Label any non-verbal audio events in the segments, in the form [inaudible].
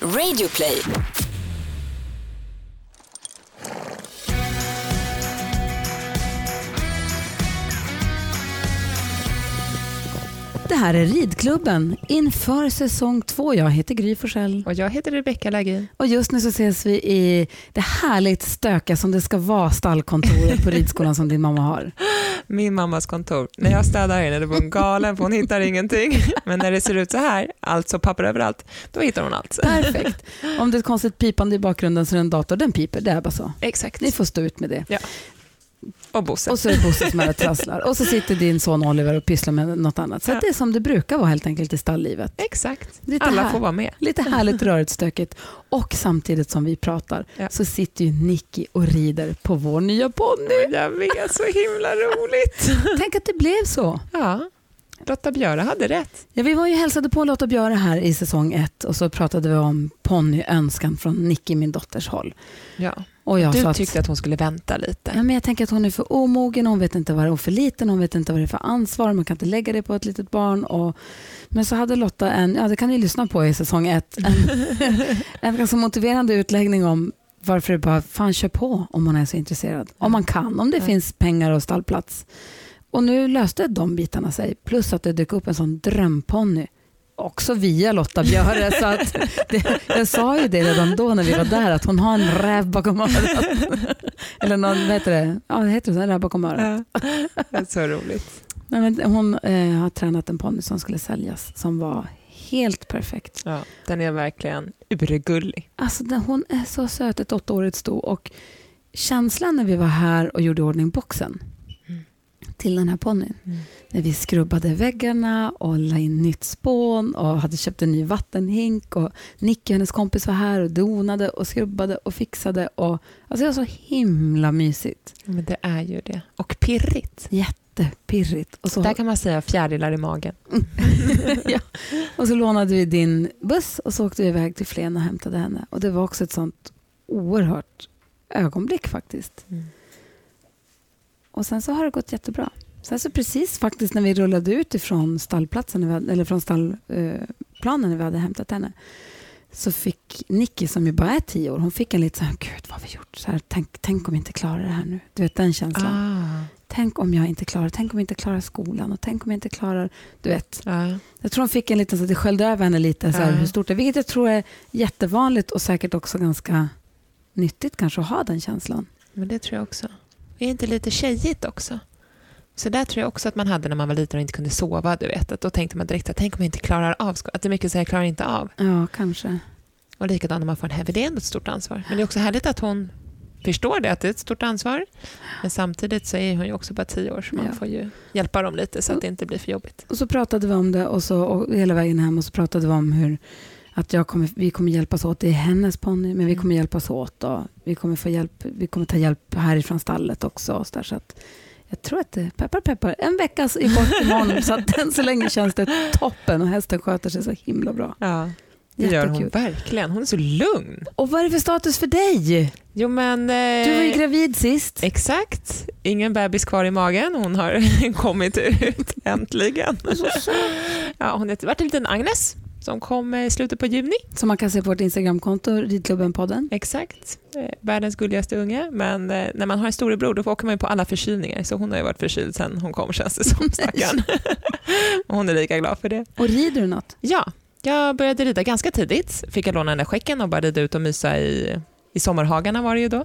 Radioplay. Det här är Ridklubben inför säsong två. Jag heter Gry Forssell. Och jag heter Rebecka Lagin. Och just nu så ses vi i det härligt stökiga som det ska vara stallkontoret på ridskolan som din mamma har. Min mammas kontor. När jag städar henne då är hon galen för hon hittar ingenting. Men när det ser ut så här, alltså papper överallt, då hittar hon allt. Perfekt. Om det är ett konstigt pipande i bakgrunden så är det en dator. Den piper, det är bara så. Exakt. Ni får stå ut med det. Och Bosse. Och så är det Bosse som är och trasslar. Och så sitter din son Oliver och pysslar med något annat. Så att det är som det brukar vara helt enkelt i stalllivet. Exakt. Lite Alla här- får vara med. Lite härligt rörigt stökigt. Och samtidigt som vi pratar Ja. så sitter ju Nicky och rider på vår nya ponny. Jag vet, så himla roligt. Tänk att det blev så. Ja, Lotta Björe hade rätt. Ja, vi var ju hälsade på Lotta Björe här i säsong ett och så pratade vi om ponnyönskan från Nicky, min dotters håll. Ja. Och jag sa Du att, tyckte att hon skulle vänta ja, lite. men jag tänker att hon är för omogen, hon vet inte vad det är, och för liten, hon vet inte vad det är för ansvar, man kan inte lägga det på ett litet barn. Och, men så hade Lotta en, ja det kan ni lyssna på i säsong ett, en, en ganska motiverande utläggning om varför det bara, fan kör på om man är så intresserad. Om man kan, om det Ja. finns pengar och stallplats. Och nu löste de bitarna sig, plus att det dök upp en sån drömponny. Också via Lotta Björe. så att det, jag sa ju det redan då när vi var där, att hon har en räv bakom örat. Eller någon, vad heter det? Ja, det heter det, en räv bakom örat. Ja. Det är så roligt. Nej, men hon eh, har tränat en ponny som skulle säljas, som var helt perfekt. Ja. Den är verkligen urgullig. Alltså, den- hon är så söt, ett åttaårigt sto. Och känslan när vi var här och gjorde i ordning boxen Mm. till den här ponnyn. Mm. När vi skrubbade väggarna och la in nytt spån och hade köpt en ny vattenhink. Och Nicky och hennes kompis var här och donade och skrubbade och fixade. Och, alltså det var så himla mysigt. Men det är ju det. Och pirrigt. Jättepirrigt. Och så, Där kan man säga fjärilar i magen. ja. och så lånade vi din buss och så åkte vi iväg till Flen och hämtade henne. Och det var också ett sånt oerhört ögonblick faktiskt. Mm. Och sen så har det gått jättebra. Sen så precis faktiskt när vi rullade ut ifrån stallplatsen, när vi hade- eller från stallplanen när vi hade hämtat henne, så fick Nicky som ju bara är tio år, hon fick en lite så här, gud vad har vi gjort? Så här, tänk, tänk om vi inte klarar det här nu. Du vet den känslan. Ah. Tänk om jag inte klarar, tänk om jag inte klarar skolan och tänk om jag inte klarar, du vet. Ja. Jag tror hon fick en liten, så att det sköljde över henne lite, så här, Ja. hur stort det är. Vilket jag tror är jättevanligt och säkert också ganska nyttigt kanske att ha den känslan. Men det tror jag också. Det är inte lite tjejigt också. Så där tror jag också att man hade när man var liten och inte kunde sova. Du vet, att då tänkte man direkt att tänk om jag inte klarar av sko- Att det är mycket så jag klarar inte av. Ja, kanske. Och likadant när man får en heavy, det är ändå ett stort ansvar. Men det är också härligt att hon förstår det, att det är ett stort ansvar. Men samtidigt så är hon ju också bara tio år, så man Ja. Mm. får ju hjälpa dem lite så att det inte blir för jobbigt. Och så pratade vi om det och så, och hela vägen hem och så pratade vi om hur att jag kommer, vi kommer hjälpas åt. Det är hennes ponny, men vi Mm. kommer hjälpas åt. Och vi, kommer få hjälp, vi kommer ta hjälp härifrån stallet också. Och så där, så att jag tror att det peppar peppar. En vecka är bort imorgon, så att än så länge känns det toppen och hästen sköter sig så himla bra. Ja, det gör hon Jättekul. verkligen. Hon är så lugn. Och vad är det för status för dig? Jo, men... eh, Du var ju gravid sist. Exakt. Ingen bebis kvar i magen. Hon har [laughs] kommit ut [laughs] äntligen. Ja, hon har varit en liten Agnes som kom eh, i slutet på juni. Som man kan se på vårt Instagramkonto, Ridklubben-podden. Exakt. Eh, Världens gulligaste unge. Men eh, när man har en storebror då åker man ju på alla förkylningar. Så hon har ju varit förkyld sedan hon kom känns det [laughs] som. Stackarn. Och hon är lika glad för det. Och rider du något? Ja, jag började rida ganska tidigt. Fick jag låna den där skäcken och bara rida ut och mysa i, i sommarhagarna var det ju då.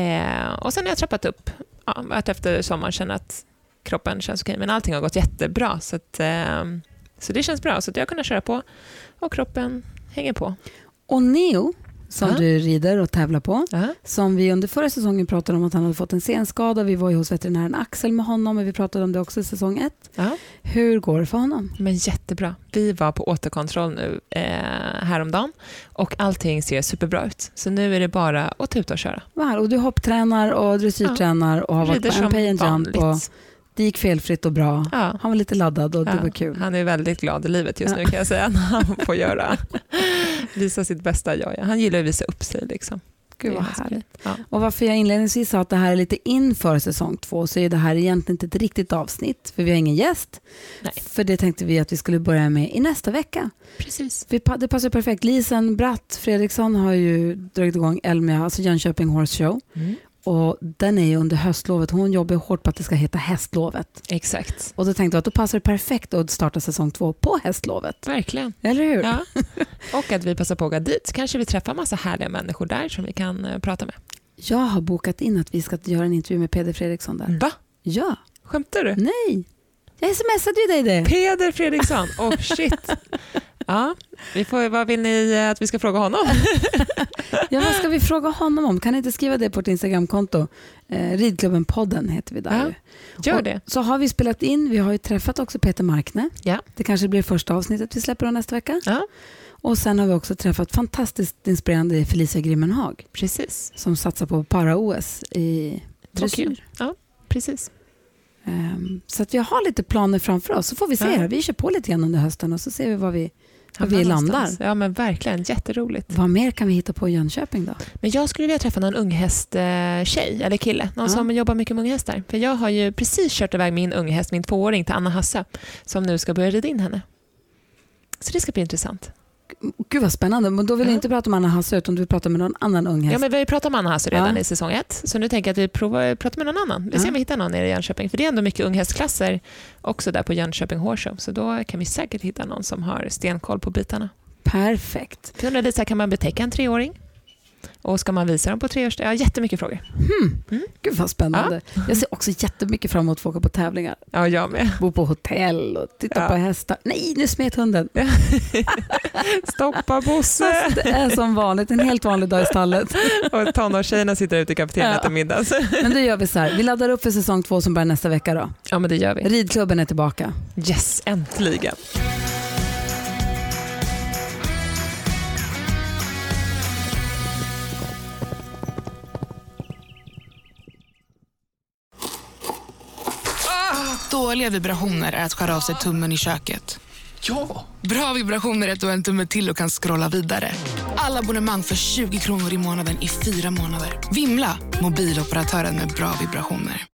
Eh, och sen har jag trappat upp. Ja, att efter sommaren känner att kroppen känns okej. Men allting har gått jättebra. Så, att, eh, så det känns bra. Så att jag har kunnat köra på och kroppen hänger på. Och Neo, som Ja. du rider och tävlar på. Ja. som vi under förra säsongen pratade om att han hade fått en senskada. Vi var ju hos veterinären Axel med honom och vi pratade om det också i säsong ett. Ja. Hur går det för honom? Men jättebra. Vi var på återkontroll nu eh, häromdagen och allting ser superbra ut. Så nu är det bara att tuta och köra. Var? Och du hopptränar och dressyrtränar och har varit Rider på en pay and jump och det gick felfritt och bra. Ja. Han var lite laddad och det Ja, var kul. Han är väldigt glad i livet just Ja. nu kan jag säga när han får göra, visa sitt bästa jag. Ja. Han gillar att visa upp sig. Liksom. Gud Det är vad ganska härligt. Ja. Och varför jag inledningsvis sa att det här är lite inför säsong två så är det här egentligen inte ett riktigt avsnitt för vi har ingen gäst. Nej. För det tänkte vi att vi skulle börja med i nästa vecka. Precis. Vi, pa- det passar perfekt. Lisen Bratt Fredriksson har ju dragit igång Elmia, alltså Jönköping Horse Show. Mm. Och den är ju under höstlovet. Hon jobbar ju hårt på att det ska heta hästlovet. Exakt. Och då tänkte jag att då passar det perfekt att starta säsong två på hästlovet. Verkligen. Eller hur? Ja. [laughs] Och att vi passar på att gå dit. Kanske vi träffar massa härliga människor där som vi kan eh, prata med. Jag har bokat in att vi ska göra en intervju med Peder Fredriksson där. Va? Ja, Skämtar du? nej. Mm. Jag smsade ju dig det. Peder Fredriksson. Oh shit. Ja, vi får, vad vill ni eh, att vi ska fråga honom? Ja, vad ska vi fråga honom om? Kan ni inte skriva det på vårt Instagramkonto? Eh, Ridklubben-podden heter vi där. Ja, ju. Gör det. Så har vi spelat in, vi har ju träffat också Peter Markne. Ja. Det kanske blir första avsnittet vi släpper då nästa vecka. Ja. Och sen har vi också träffat fantastiskt inspirerande Felicia Grimmenhag Precis. som satsar på para-OS i dressyr. Ja, precis. Ehm, så att vi har lite planer framför oss, så får vi se. Ja. här. Vi kör på lite grann under hösten och så ser vi vad vi... Var vi Hamnar landar. någonstans. Ja, men verkligen. Jätteroligt. Vad mer kan vi hitta på i Jönköping då? Men jag skulle vilja träffa någon unghästtjej eller kille, någon Ja. som jobbar mycket med unghästar. För jag har ju precis kört iväg min unghäst, min tvååring, till Anna Hasse som nu ska börja rida in henne. Så det ska bli intressant. Gud vad spännande, men då vill Ja. jag inte prata om Anna Hasse utan du vill prata med någon annan ung häst. Ja, men vi har ju pratat om Anna Hasse redan Ja. i säsong ett, så nu tänker jag att vi provar, pratar med någon annan. Vi ser Ja. om vi hittar någon nere i Jönköping, för det är ändå mycket unghästklasser också där på Jönköping Horse Show, så då kan vi säkert hitta någon som har stenkoll på bitarna. Perfekt. Jag undrar lite, så här, kan man betäcka en treåring? Och ska man visa dem på treårs... Jag har jättemycket frågor. Gud vad spännande. Jag ser också jättemycket fram emot att få åka på tävlingar. Ja, jag med. Bo på hotell och titta Ja. på hästar. Nej, nu smet hunden. [laughs] Stoppa Bosse! Fast det är som vanligt, en helt vanlig dag i stallet. Och tonårstjejerna sitter ute i kafeterian och Ja. äter middag. Men då gör vi så här, vi laddar upp för säsong två som börjar nästa vecka då. Ja, men det gör vi. Ridklubben är tillbaka. Yes, äntligen. Dåliga vibrationer är att skära av sig tummen i köket. Ja! Bra vibrationer är att du har en tumme till och kan scrolla vidare. Alla abonnemang för 20 kronor i månaden i fyra månader. Vimla! Mobiloperatören med bra vibrationer.